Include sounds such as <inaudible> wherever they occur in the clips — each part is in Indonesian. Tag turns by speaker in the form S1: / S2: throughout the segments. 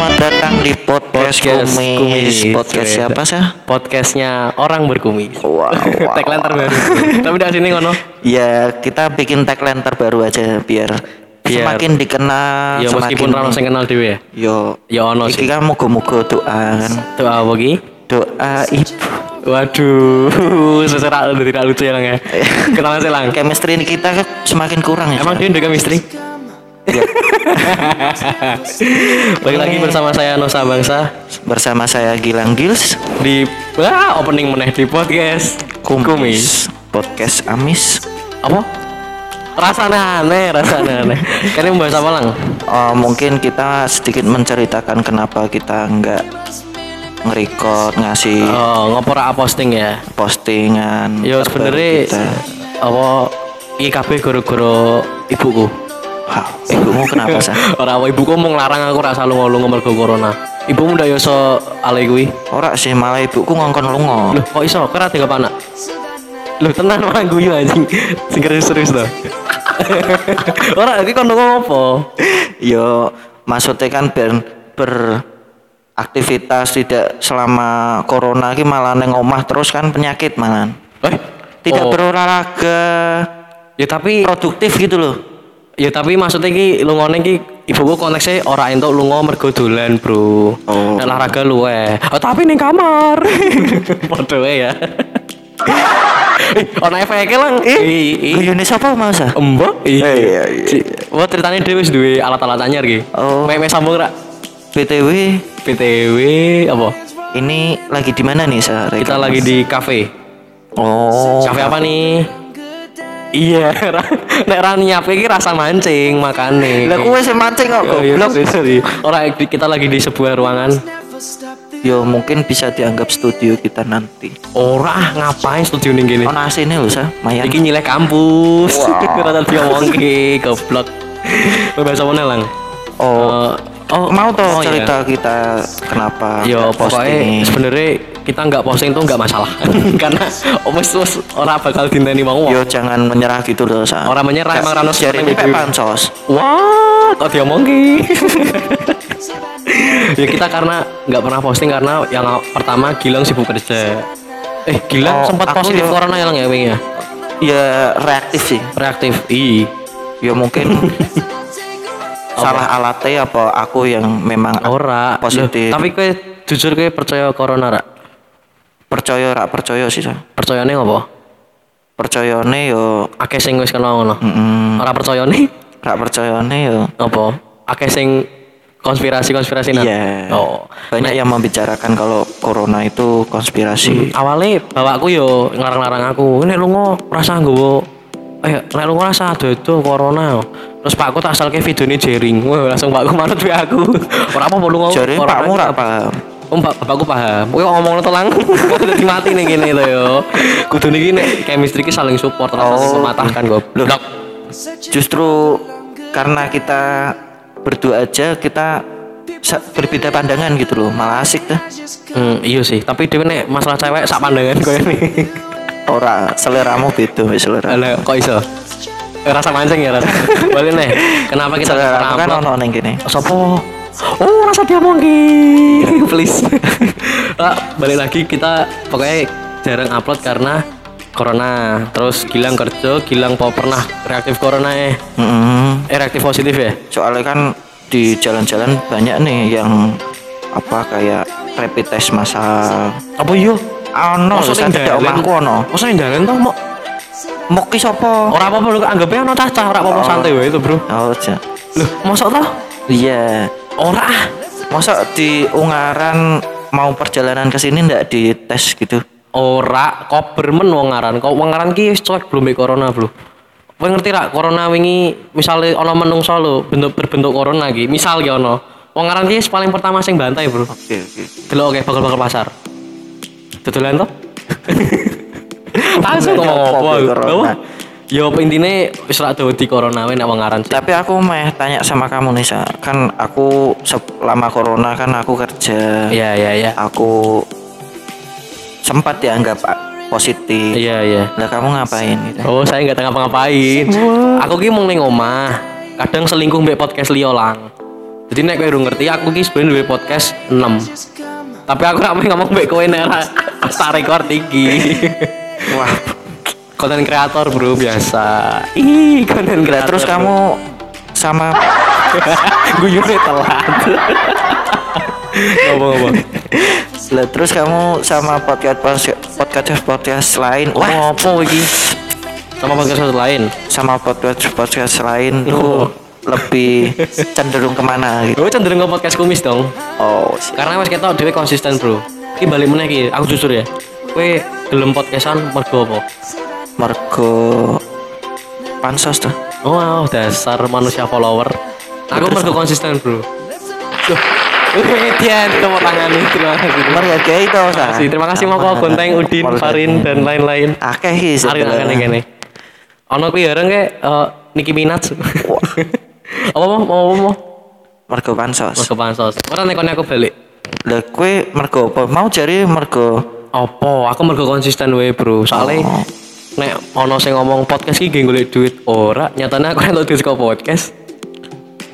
S1: di podcast,
S2: Podcast
S1: kumis.
S2: Kumis.
S1: Podcast siapa sih?
S2: Podcastnya orang
S1: <laughs>
S2: berkumis.
S1: Wow, wow.
S2: Tagline terbaru. Tapi dari sini ngono.
S1: Ya kita bikin tagline terbaru aja biar,
S2: Biar-
S1: semakin dikenal.
S2: Ya meskipun
S1: Ah, semakin
S2: orang sing kenal dhewe ya.
S1: Yo,
S2: Ya ono
S1: iki
S2: sih.
S1: kan mugo-mugo doa kan.
S2: Doa apa ki?
S1: Doa ibu.
S2: Waduh, <laughs> secara tidak lucu ya lang ya.
S1: Iya.
S2: Kenalan sih lang.
S1: Chemistry kita kan semakin kurang ya.
S2: Emang
S1: Cak?
S2: dia udah misteri?
S1: Iya.
S2: <laughs> Balik lagi bersama saya Nusa Bangsa
S1: Bersama saya Gilang Gils,
S2: di wah, opening meneh di podcast
S1: kumis. Podcast Amis.
S2: Apa? Rasanya aneh, rasanya
S1: <laughs>
S2: aneh. Kalian mau bahas apa lang?
S1: Oh, mungkin kita sedikit menceritakan kenapa kita nggak ngerekord ngasih
S2: Oh, ngopor apa posting ya?
S1: postingan terbaru
S2: Yo sebenarnya
S1: kita.
S2: apa IKB goro-goro ibuku.
S1: Hah, ibumu kenapa sih?
S2: Ora apa ibuku mau ngelarang aku rasa lu ngolong mergo corona. Ibumu ndak yo iso ale kuwi.
S1: Ora sih malah ibuku ngongkon lunga.
S2: <laughs> Loh, kok iso? Kira tinggal anak. Loh, tenan orang guyu anjing. Sing serius-serius to. <laughs> Ora iki kon ngomong apa?
S1: Yo maksudnya kan ben beraktivitas tidak selama corona ki malah neng omah terus kan penyakit malahan.
S2: Eh,
S1: Tidak
S2: oh.
S1: berolahraga
S2: Ya tapi
S1: produktif gitu loh.
S2: ya tapi maksudnya ki lungone ki ibuku konteksnya ora entuk lunga mergo dolan,
S1: Oh.
S2: Bro. Nek Olahraga luwe. Oh, tapi ning
S1: <laughs>
S2: kamar. Padha wae ya. Eh, Ono efeknya lang.
S1: Eh,
S2: Eh,
S1: Yuni siapa mau sih?
S2: Embo? Iya,
S1: iya,
S2: Wah, ceritanya dia wis duwe alat-alat anyar ki.
S1: Oh.
S2: Mek mek sambung ra.
S1: BTW
S2: PTW apa?
S1: ini lagi di mana nih sah?
S2: Kita lagi di kafe.
S1: Oh,
S2: Kafe apa nih? Iya, <laughs> Ra- nek ra nyiapke iki rasa mancing makane.
S1: lah kue semancing kok
S2: Oh, iya,
S1: goblok.
S2: sorry, sorry. Ora di- kita lagi di sebuah ruangan.
S1: Yo mungkin bisa dianggap studio kita nanti.
S2: Ora ah, ngapain studio ning kene?
S1: Oh nasi ini loh sah, mayan.
S2: Iya. Iki nyilek kampus. <laughs> Ora tau diomongke, goblok. Bahasa mana lang?
S1: Oh,
S2: Eh,
S1: oh mau toh
S2: oh, iya.
S1: cerita kita kenapa
S2: Ya
S1: nggak
S2: pokoknya
S1: posting?
S2: sebenarnya kita nggak posting tuh nggak masalah <laughs> karena wis wis ora bakal dinteni mau
S1: Yo Iya, jangan menyerah gitu loh Sa.
S2: Orang menyerah, emang Rano
S1: Jari ini
S2: seperti itu.
S1: Pak pansos.
S2: Wah, kok diomongi? <laughs> ya kita karena nggak pernah posting karena yang pertama Gilang sibuk kerja. Eh Gilang
S1: Oh,
S2: sempat
S1: aku
S2: positif
S1: yo-
S2: corona ya Lang, ya Wing ya?
S1: Ya reaktif sih.
S2: Reaktif. I.
S1: Ya
S2: <laughs>
S1: mungkin salah alatnya apa aku yang memang
S2: Ora.
S1: Positif.
S2: Loh, tapi kue jujur kue percaya corona ra?
S1: percaya rak percaya sih. Sa.
S2: Percayane ngopo?
S1: Percayane yo
S2: Akeh sing wis kenal ngono. Ora percayane
S1: rak percayane yo.
S2: ngopo? Akeh sing konspirasi-konspirasi nah.
S1: Iya.
S2: Oh.
S1: Banyak yang membicarakan kalau corona itu konspirasi.
S2: awalnya bapakku yo ngarang-larang aku nek lunga rasa nggowo eh nek lunga rasa dodo corona terus pakku tak asalke videone jering wah langsung pakku manut wae aku <laughs> ora apa-apa lunga
S1: Jari
S2: corona
S1: Pak Murah paham.
S2: Om Pak- Oh, bapakku paham. Kowe ngomong telang <laughs> dadi mati ning kene to yo. Kudune iki nek chemistry iki saling support terus
S1: Oh.
S2: mematahkan goblok.
S1: Justru karena kita berdua aja kita sa- berbeda pandangan gitu loh, malah asik tuh.
S2: Hmm, iya sih, tapi dhewe nek masalah cewek sak pandangan koyo
S1: <laughs>
S2: ini.
S1: Ora seleramu beda wis selera.
S2: Ala kok iso? Rasa mancing ya rasa. Balik nih. Kenapa kita
S1: Seleramu kan
S2: upload?
S1: ono ning kene.
S2: Sopo? Oh, rasa dia mongki. <laughs> Please. Ah, balik lagi kita pokoknya jarang upload karena corona. Terus Gilang kerja, Gilang po pernah reaktif corona eh.
S1: Mm-mm.
S2: Eh reaktif positif ya?
S1: Soalnya kan di jalan-jalan banyak nih yang apa kayak rapid test massal. Ah,
S2: Apa iya? iyo?
S1: Ono lho, kan saya
S2: ya,
S1: tidak omahku ono.
S2: Masa yang dalan tau mau
S1: Moki sapa?
S2: Orang apa-apa lu anggapnya ono cacah, orang apa-apa santai wae itu, Bro.
S1: Oh, ja-
S2: Loh, masa tau?
S1: iya.
S2: Ora ah.
S1: Masa di Ungaran mau perjalanan ke sini ndak dites gitu?
S2: Ora kobermen wong ngaran. Kok wong ngaran ki wis cuek belum mbek corona, Bro. Kowe ngerti ra corona wingi misale ana menungso lho bentuk berbentuk corona ki. Misal ki ana. Wong ngaran ki wis paling pertama sing bantai, Bro.
S1: Oke, oke.
S2: Delok oke bakal-bakal pasar. Dodolan <laughs> to? Langsung ngomong
S1: Apa
S2: apa?
S1: be
S2: aku?
S1: corona?
S2: Apa? Ya apa intine wis ra dadi corona wae nek wong ngaran.
S1: Tapi aku meh tanya sama kamu Nisa, kan aku selama corona kan aku kerja.
S2: Iya, iya, iya.
S1: aku sempat dianggap a- positif.
S2: Iya, iya.
S1: Lah kamu ngapain gitu?
S2: Oh, saya nggak ngapa-ngapain. Aku ki mung ning omah. Kadang selingkuh mbek podcast liyo lang. jadi nek kowe durung ngerti aku ki sebenarnya duwe podcast 6 tapi aku ora mau ngomong baik kowe nek ora tak record <laughs> iki
S1: Wah.
S2: ya, konten kreator bro biasa Nah, ih konten kreator
S1: Terus kamu sama
S2: guyone telat ngomong ngomong
S1: lah, terus kamu sama podcast podcast podcast, podcast lain wah
S2: apa iki sama podcast lain
S1: sama podcast podcast lain tuh
S2: Oh.
S1: lebih
S2: <laughs>
S1: cenderung kemana gitu
S2: gue cenderung ke podcast kumis dong
S1: oh
S2: karena mas kita dewe konsisten bro ini balik meneh ki aku jujur ya kowe gelem podcastan mergo apa
S1: mergo pansos tuh
S2: wow dasar manusia follower aku mergo konsisten bro Duh, Dian, tepuk tangan nih, terima kasih.
S1: menghargai itu
S2: Terima kasih, terima kasih Moko Gonteng, Udin, Farin, dan lain-lain.
S1: akeh sih
S2: Arin akan
S1: sebenarnya.
S2: yang ini. Ono kuwi orang kayak eh, Nicki Minaj. Apa mau mau mau
S1: mergo pansos
S2: Mas kepansos. Ora nek kono aku balik.
S1: lah kue mergo apa mau jari mergo
S2: Apa? Aku mergo konsisten wae, Bro. Soalnya
S1: Oh.
S2: nek ono sing ngomong podcast iki nggih golek duit ora, nyatane aku entuk duit saka podcast.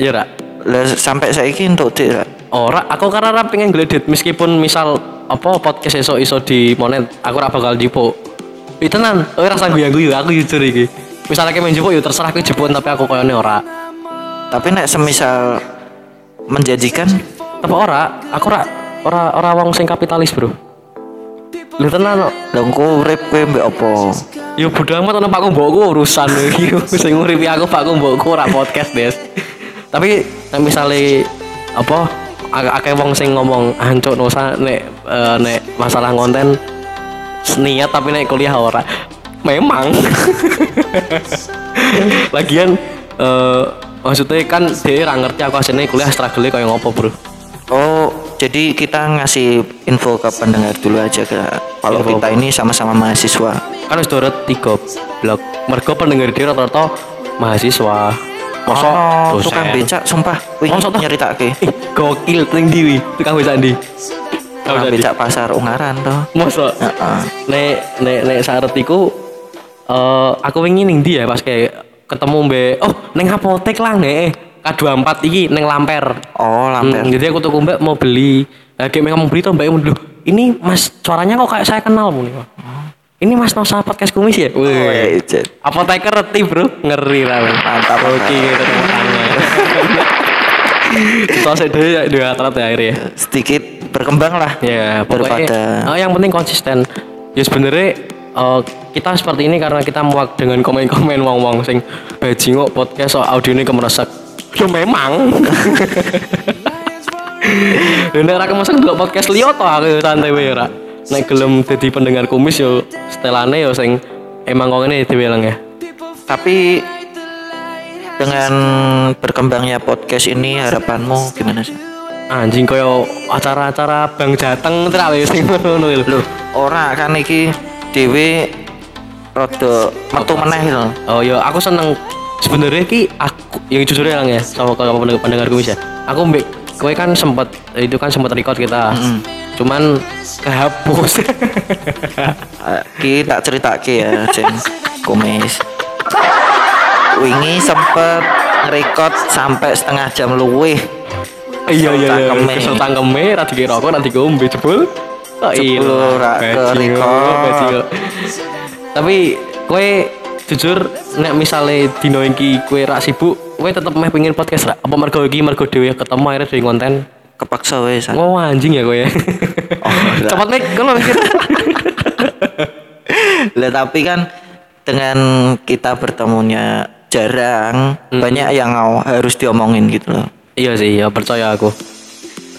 S2: Iya ra?
S1: lah sampai saiki untuk dik ra?
S2: Ora, aku karena ora pengen golek duit meskipun misal apa podcast esok iso di monet, aku ora bakal jipuk. Itu tenan, kowe rasa guyu-guyu, aku jujur iki. Misalnya kayak menjepuk, ya terserah aku jepun tapi aku koyone ora.
S1: tapi nek semisal menjanjikan
S2: Tapi ora, aku ora ora ora wong sing kapitalis, Bro. Lha tenan
S1: lah engko urip kue mbek apa
S2: yo bodo amat ono Pak Kumbokku urusan <laughs> iki sing nguripi aku Pak Kumbokku ora podcast, Des. Tapi nek misale apa ag- akeh wong sing ngomong hancur nusa nek eh, nek masalah konten niat tapi nek kuliah ora. Memang. <laughs> Lagian eh maksudnya kan dia ora ngerti aku asline kuliah struggle kaya ngopo, Bro.
S1: Oh, jadi kita ngasih info ke pendengar dulu aja ke kalau
S2: Info
S1: kita ini sama-sama mahasiswa.
S2: kan wis dorot tiga blok mergo pendengar dia rata-rata mahasiswa mosok
S1: Ono Ah,
S2: dosen.
S1: tukang becak sumpah wih
S2: Mosok Iya, toh?
S1: nyeritake.
S2: Ih, gokil ning diwi tukang becak ndi
S1: Tukang becak pasar Ungaran toh.
S2: mosok
S1: Heeh.
S2: nek nek nek saret iku eh, aku wingi ning ndi ya pas kayak ketemu mbe oh ning apotek lah nek K24 iki ning Lamper
S1: Oh,
S2: Hmm,
S1: lampe.
S2: jadi aku tuku mbak mau beli lagi memang mau beli tuh mbak dulu ini mas suaranya kok kayak saya kenal Bu." ini mas Nosa podcast kumis ya
S1: Oh, iya, Wih,
S2: Wih.
S1: jet.
S2: Apoteker reti bro, ngeri lah men.
S1: Mantap,
S2: Oke,
S1: mantap.
S2: gitu tepuk <laughs> tangan. Kita saya dulu ya dua atlet ya akhirnya.
S1: sedikit berkembang lah.
S2: Ya
S1: daripada
S2: pokoknya. Oh, yang penting konsisten. Ya sebenarnya eh, kita seperti ini karena kita muak dengan komen-komen wong-wong sing bajingok podcast so audio ini kemeresek. Ya memang. <laughs> Dan nek ra kemeresek delok podcast liyo to aku santai wae ora. Nek gelem dadi pendengar kumis yo setelane yo sing emang kok ngene dhewe leng ya.
S1: tapi dengan berkembangnya podcast ini harapanmu gimana sih?
S2: anjing koyo acara-acara Bang Jateng tra wis sing ngono lho.
S1: Ora kan iki dhewe rada metu meneh lho.
S2: Oh yo aku seneng sebenarnya ki aku yang jujur ya Lang, ya sama kalau pendengar pendengarku bisa. Aku mbek kowe kan sempat itu kan sempat record kita. Cuman kehapus. <laughs>
S1: Eh, Ki tak ceritake ya, Jeng. Kumis. Wingi sempet ngerekod sampai setengah jam luwih.
S2: iya iya iya.
S1: Tangkeme.
S2: Kesel tangkeme ra dikira rokok ra digombe jebul. Oh iya.
S1: Jebul, ra ke-record.
S2: Tapi kowe jujur nek misale dino iki kowe ra sibuk, kowe tetep meh pengen podcast ra? Apa mergo iki mergo dhewe ketemu akhirnya dhewe konten?
S1: Kepaksa wes.
S2: Wah anjing ya kowe
S1: Oh,
S2: <laughs> ya.
S1: lah.
S2: Cepat nek kono
S1: <laughs> Lah tapi kan dengan kita bertemunya jarang, banyak yang mau harus diomongin gitu loh.
S2: Iya sih, ya percaya aku.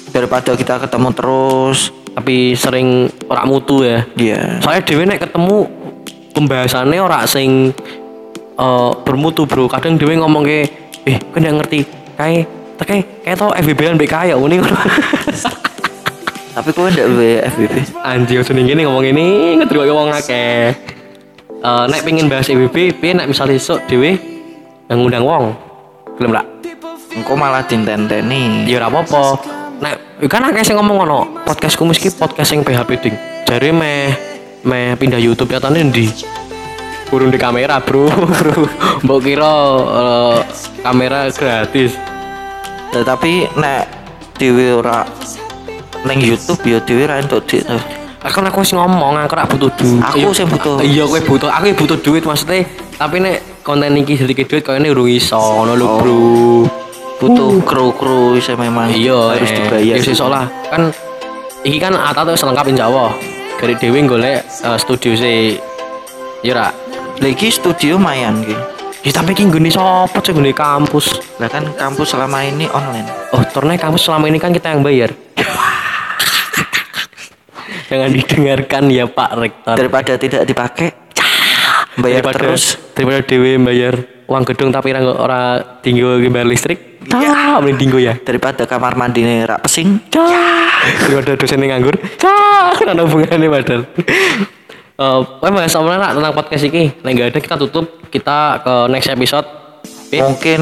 S1: Daripada kita ketemu terus, iya.
S2: Tapi sering ora mutu ya.
S1: dia
S2: Soalnya dhewe nek ketemu pembahasannya ora sing eh, bermutu, Bro. Kadang dhewe ngomong ke, "Eh, kowe ndak ngerti. Kae teke kae to FBB-an BK ya ngene <laughs> ngono."
S1: Tapi kowe ndak duwe FBB.
S2: Anjing ojo ning kene ngomong ini, ngedruk wong akeh. Eh, nek pengen bahas FBB, piye nek misal esuk dhewe ngundang wong. Gelem ra?
S1: Engko malah ditenteni.
S2: ya ora apa-apa nek kan akeh sing ngomong ngono podcast ku meski podcast sing PHP ding jare meh meh pindah YouTube nyatane ndi kurung di <laughs> kamera bro bro mbok kira eh, kamera gratis
S1: tetapi nek dhewe ora ning YouTube ya dhewe ra entuk duit tuh.
S2: Aku kan aku sih ngomong, aku rak butuh duit.
S1: Aku sing butuh.
S2: Iya, kowe butuh. Aku butuh duit maksudnya. Tapi nek konten iki sedikit duit kau ini urung iso, ngono lho, Bro.
S1: butuh kru-kru saya memang
S2: Uh. Iya,
S1: harus
S2: eh,
S1: dibayar
S2: Iya, iso lah. Kan iki kan Ata tuh selengkap insya Allah. Dari Dewi golek eh, studio sih. Iya, rak.
S1: lagi studio mayan gitu
S2: Ya tapi ki nggone sapa sih nggone kampus?
S1: lah kan kampus selama ini online
S2: Oh, turne kampus selama ini kan kita yang bayar. <laughs> Jangan didengarkan ya Pak Rektor.
S1: daripada tidak dipakai bayar
S2: Daripada-
S1: terus
S2: daripada dewe bayar uang gedung tapi orang ora tinggal bayar listrik. Ya, mending tinggal ya.
S1: daripada kamar mandi rak pesing
S2: Cah, <laughs> daripada Ya. dosen yang nganggur. Cah, kan ada hubungannya padahal. Eh, uh, bahas apa lah tentang podcast ini? Nah, nggak ada kita tutup. Kita ke next episode. Eh,
S1: mungkin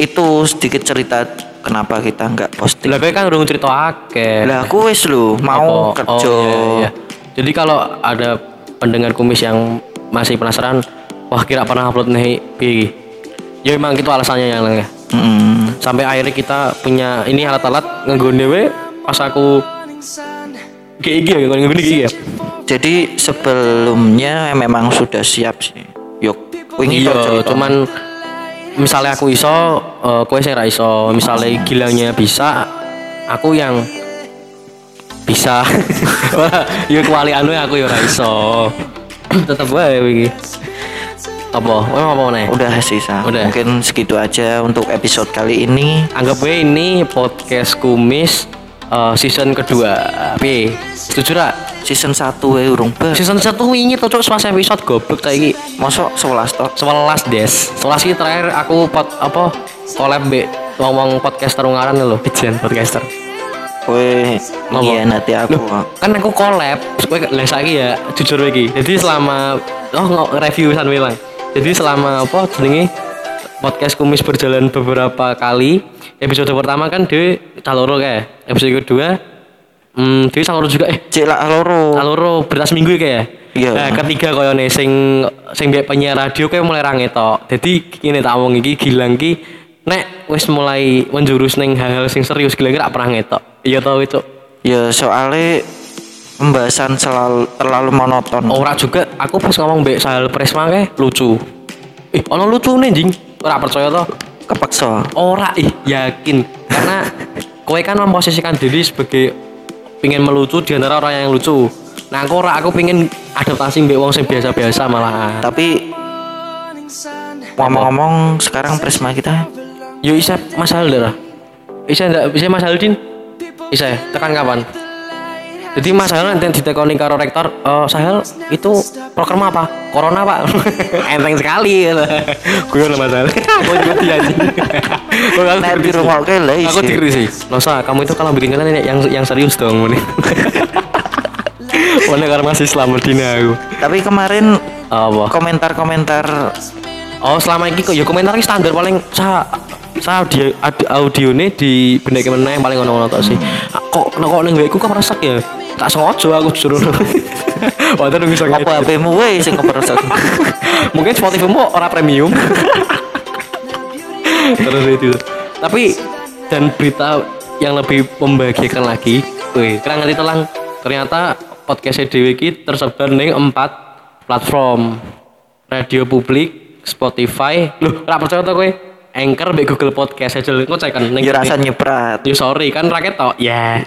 S1: itu sedikit cerita kenapa kita nggak posting
S2: lah, gue kan udah cerita akeh.
S1: lah aku wis lho mau
S2: Apa?
S1: kerja
S2: Oh, iya, iya. Jadi kalau ada pendengar kumis yang masih penasaran, wah kira pernah upload nih, piye? Ya emang itu alasannya yang ya.
S1: Mm.
S2: Sampai akhirnya kita punya ini alat-alat ngegonde we pas aku kayak iki ya, ngegonde iki ya.
S1: jadi sebelumnya memang sudah siap sih yuk wingi
S2: Iya,
S1: tok cerita.
S2: cuman misalnya aku iso, eh, kowe sing ra iso. Misalnya gilangnya bisa, aku yang bisa. <laughs> Wah, ya kuali anu aku ya ra iso. Tetep wae iki. Apa? Kowe mau apa meneh?
S1: udah sih Sa.
S2: Udah.
S1: mungkin segitu aja untuk episode kali ini
S2: Anggap wae ini podcast kumis eh, season kedua. Piye? Setuju ra?
S1: season 1 ya urung ber
S2: Season 1 wingi tuh cok semasa episode goblok ta iki.
S1: mosok 11 tok
S2: 11 des 11 ini terakhir aku pot apa collab be ngomong podcaster ungaran lho Pijen podcaster
S1: kowe
S2: Apa?
S1: nanti aku
S2: Loh, kan aku collab kowe lah saiki ya jujur wae iki jadi selama oh nggak review san wilang jadi selama apa jenenge podcast kumis berjalan beberapa kali episode pertama kan dhewe caloro kae episode kedua hmm dhewe caloro juga eh
S1: cek lah loro
S2: Aluro berita seminggu ya kayak.
S1: Iya.
S2: Nah, ketiga koyo nih sing sing mbek penyiar radio kayak mulai range tok. Jadi ini tak omong iki Gilang ki nek wis mulai menjurus neng hal-hal sing serius Gilang ki rak pernah ngetok. Iya tau itu.
S1: ya soalnya pembahasan selalu terlalu monoton
S2: Ora juga aku pas ngomong mbek Sahal Presma kayak lucu. Ih, ono lucu nih jing. Ora percaya toh.
S1: kepaksa
S2: Ora ih yakin karena kowe kan memposisikan diri sebagai pingin melucu di antara orang yang lucu. Nah aku ora aku pingin adaptasi mbek wong sing biasa-biasa malahan.
S1: tapi ngomong-ngomong sekarang prisma kita
S2: Yo Isa Mas Halder. Isa ndak bisa Mas Haldin. Isa ya, tekan kapan? Jadi Mas Hal nanti ditekoni karo rektor, "Eh, Sahel itu proker apa? Corona, Pak." <laughs> Enteng sekali. Gue lah Mas Hal. <laughs> Gue juga dianjing.
S1: <laughs>
S2: Gue aku
S1: Nek
S2: dikritik.
S1: dirungokne lah isi.
S2: Aku dikritik. Nosa, kamu itu kalau bikin kalian yang yang serius dong ini. <laughs> Mana karena masih Islam Medina aku.
S1: tapi kemarin
S2: Apa?
S1: komentar-komentar
S2: Oh selama ini kok ya komentar ini standar paling sa sa audio ad- audio ini di benda mana yang paling ngono-ngono tok sih. Ah, Kok kok ning wekku kok meresek ya? Tak sengaja aku <laughs> suruh. Wah, terus bisa
S1: apa
S2: ngedit.
S1: HP-mu weh sing keperusak
S2: Mungkin Spotify-mu ora premium. terus itu. Tapi dan berita yang lebih membahagiakan lagi, weh, kurang ngerti telang. Ternyata podcast Dewi ki tersebar ning empat platform radio publik, Spotify, loh, ora percaya to kowe? Anchor mbek Google Podcast aja lho. Engko cek kan <laughs> ning
S1: ya rasa nyeprat
S2: Ya sorry kan raket tau. Ya.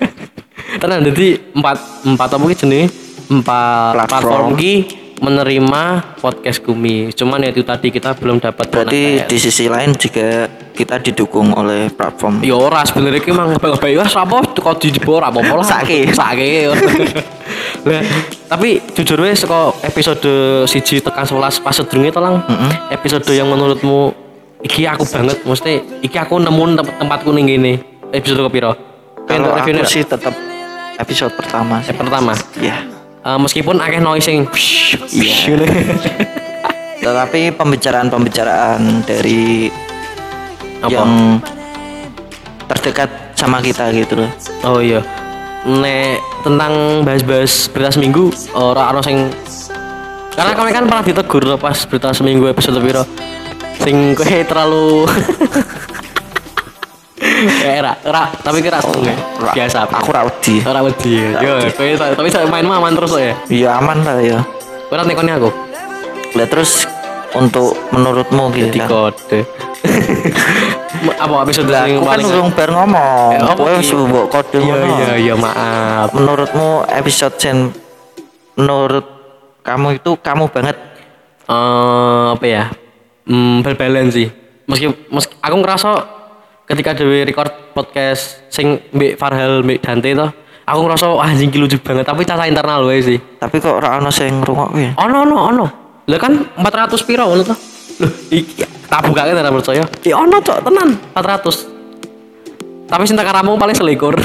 S2: <laughs> Tenan jadi empat empat apa ki jenenge? Empat
S1: Platform.
S2: platform ki menerima podcast Gumi. Cuman ya itu tadi kita belum dapat
S1: berarti
S2: moneter.
S1: di sisi lain juga kita didukung oleh platform
S2: Ya ora sebenarnya ki mang ngebay-ngebay wes apa kok dijebor apa apa lah. <laughs>
S1: Sake.
S2: Sake. ya. Lah, tapi jujur weh saka episode siji tekan 11 pas sedurunge tolong episode yang menurutmu iki aku banget mesti iki aku nemu tem- tempatku ning ngene. Episode kepiro?
S1: kalau
S2: Untuk
S1: aku
S2: reviewnya
S1: sih tetap episode pertama sih.
S2: Eh, pertama
S1: ya
S2: eh, meskipun akeh noise yang
S1: Iya. tetapi pembicaraan-pembicaraan dari
S2: <laughs> Apa?
S1: yang terdekat sama kita gitu loh
S2: oh iya nek tentang bahas-bahas berita seminggu eh, ora ono sing karena kami kan pernah ditegur loh pas berita seminggu episode piro sing kowe terlalu <laughs> Eh, ra, ra, tapi kira seneng ya.
S1: Ra-
S2: Biasa.
S1: Oh, Aku ra wedi.
S2: Ora wedi ya. Yo, kowe ta- tapi saya main mah aman terus kok ya.
S1: Iya aman lah ya.
S2: Ora nekoni aku.
S1: Lah terus untuk menurutmu gitu
S2: Di
S1: kan.
S2: kode. Ma- <laughs> Apa episode
S1: Lah
S2: yang
S1: aku kan
S2: paling
S1: urung bar ngomong.
S2: Eh, apa
S1: Kowe
S2: iya?
S1: wis mbok kode
S2: Iya
S1: ngono.
S2: iya iya maaf.
S1: Menurutmu episode sen menurut kamu itu kamu banget
S2: Eh, apa ya? Hmm, berbalance sih. Meski, meski aku ngerasa ketika Dewi record podcast sing Mbak Farhel Mbak Dante itu aku ngerasa wah anjing ki lucu banget tapi cara internal wae sih.
S1: tapi kok ora ono sing ngrungokke ya.
S2: Ono ono ono. Lah kan 400 piro ngono to? Loh, iki tak bukake ora percaya. Ki Ya ono cok tenan 400. Tapi cinta karamu paling selikur. <laughs>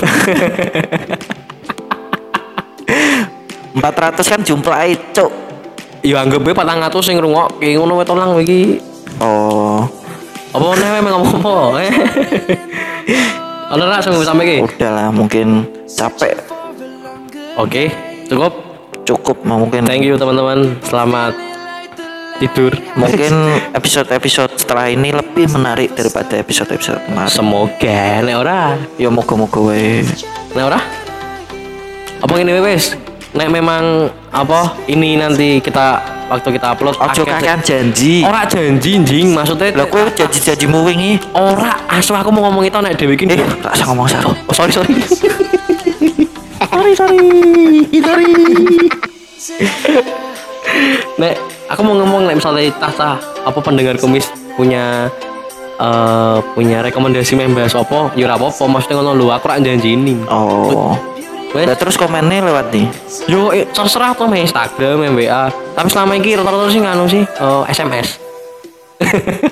S1: 400 kan jumlahe cuk.
S2: ya anggap gue 400 sing ngrungokke ngono wae tolang iki.
S1: Oh,
S2: Apa meneh wae ngomong apa? eh? Ono ra sing sampe iki.
S1: udahlah mungkin capek
S2: Oke, cukup.
S1: cukup mungkin
S2: Thank you teman-teman. Selamat tidur.
S1: mungkin episode-episode setelah ini lebih menarik daripada episode-episode kemarin.
S2: Semoga nek ora
S1: Ya moga-moga wae.
S2: Nah ora? Apa ngene wae, wis? Nek memang apa ini nanti kita waktu kita upload
S1: Ojo
S2: akeh-
S1: kakean janji.
S2: Ora janji njing maksudnya
S1: Lah kowe janji-janjimu wingi.
S2: ora asu aku mau ngomong itu nek dhewe iki.
S1: Eh, gak usah ngomong satu.
S2: Oh, sorry sorry. <laughs>
S1: Sorry, sorry. Sorry.
S2: <laughs> nek aku mau ngomong nek misalnya tasa apa pendengar kumis punya eh punya rekomendasi member sopo ya ora apa-apa maksudnya ngono lho aku ora janji ini.
S1: Oh.
S2: Wes.
S1: Lah terus komennya lewat nih.
S2: Yo, eh, terserah tuh main Instagram, main WA. Tapi selama ini rata-rata sih nganu sih eh, SMS.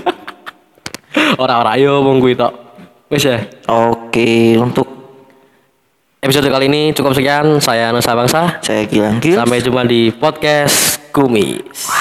S2: <laughs> Ora-ora yo mong kuwi tok. Wis ya.
S1: Oke, untuk
S2: Episode kali ini cukup sekian. Saya Nusa Bangsa.
S1: saya Gilang Gil.
S2: Sampai jumpa di podcast Kumis.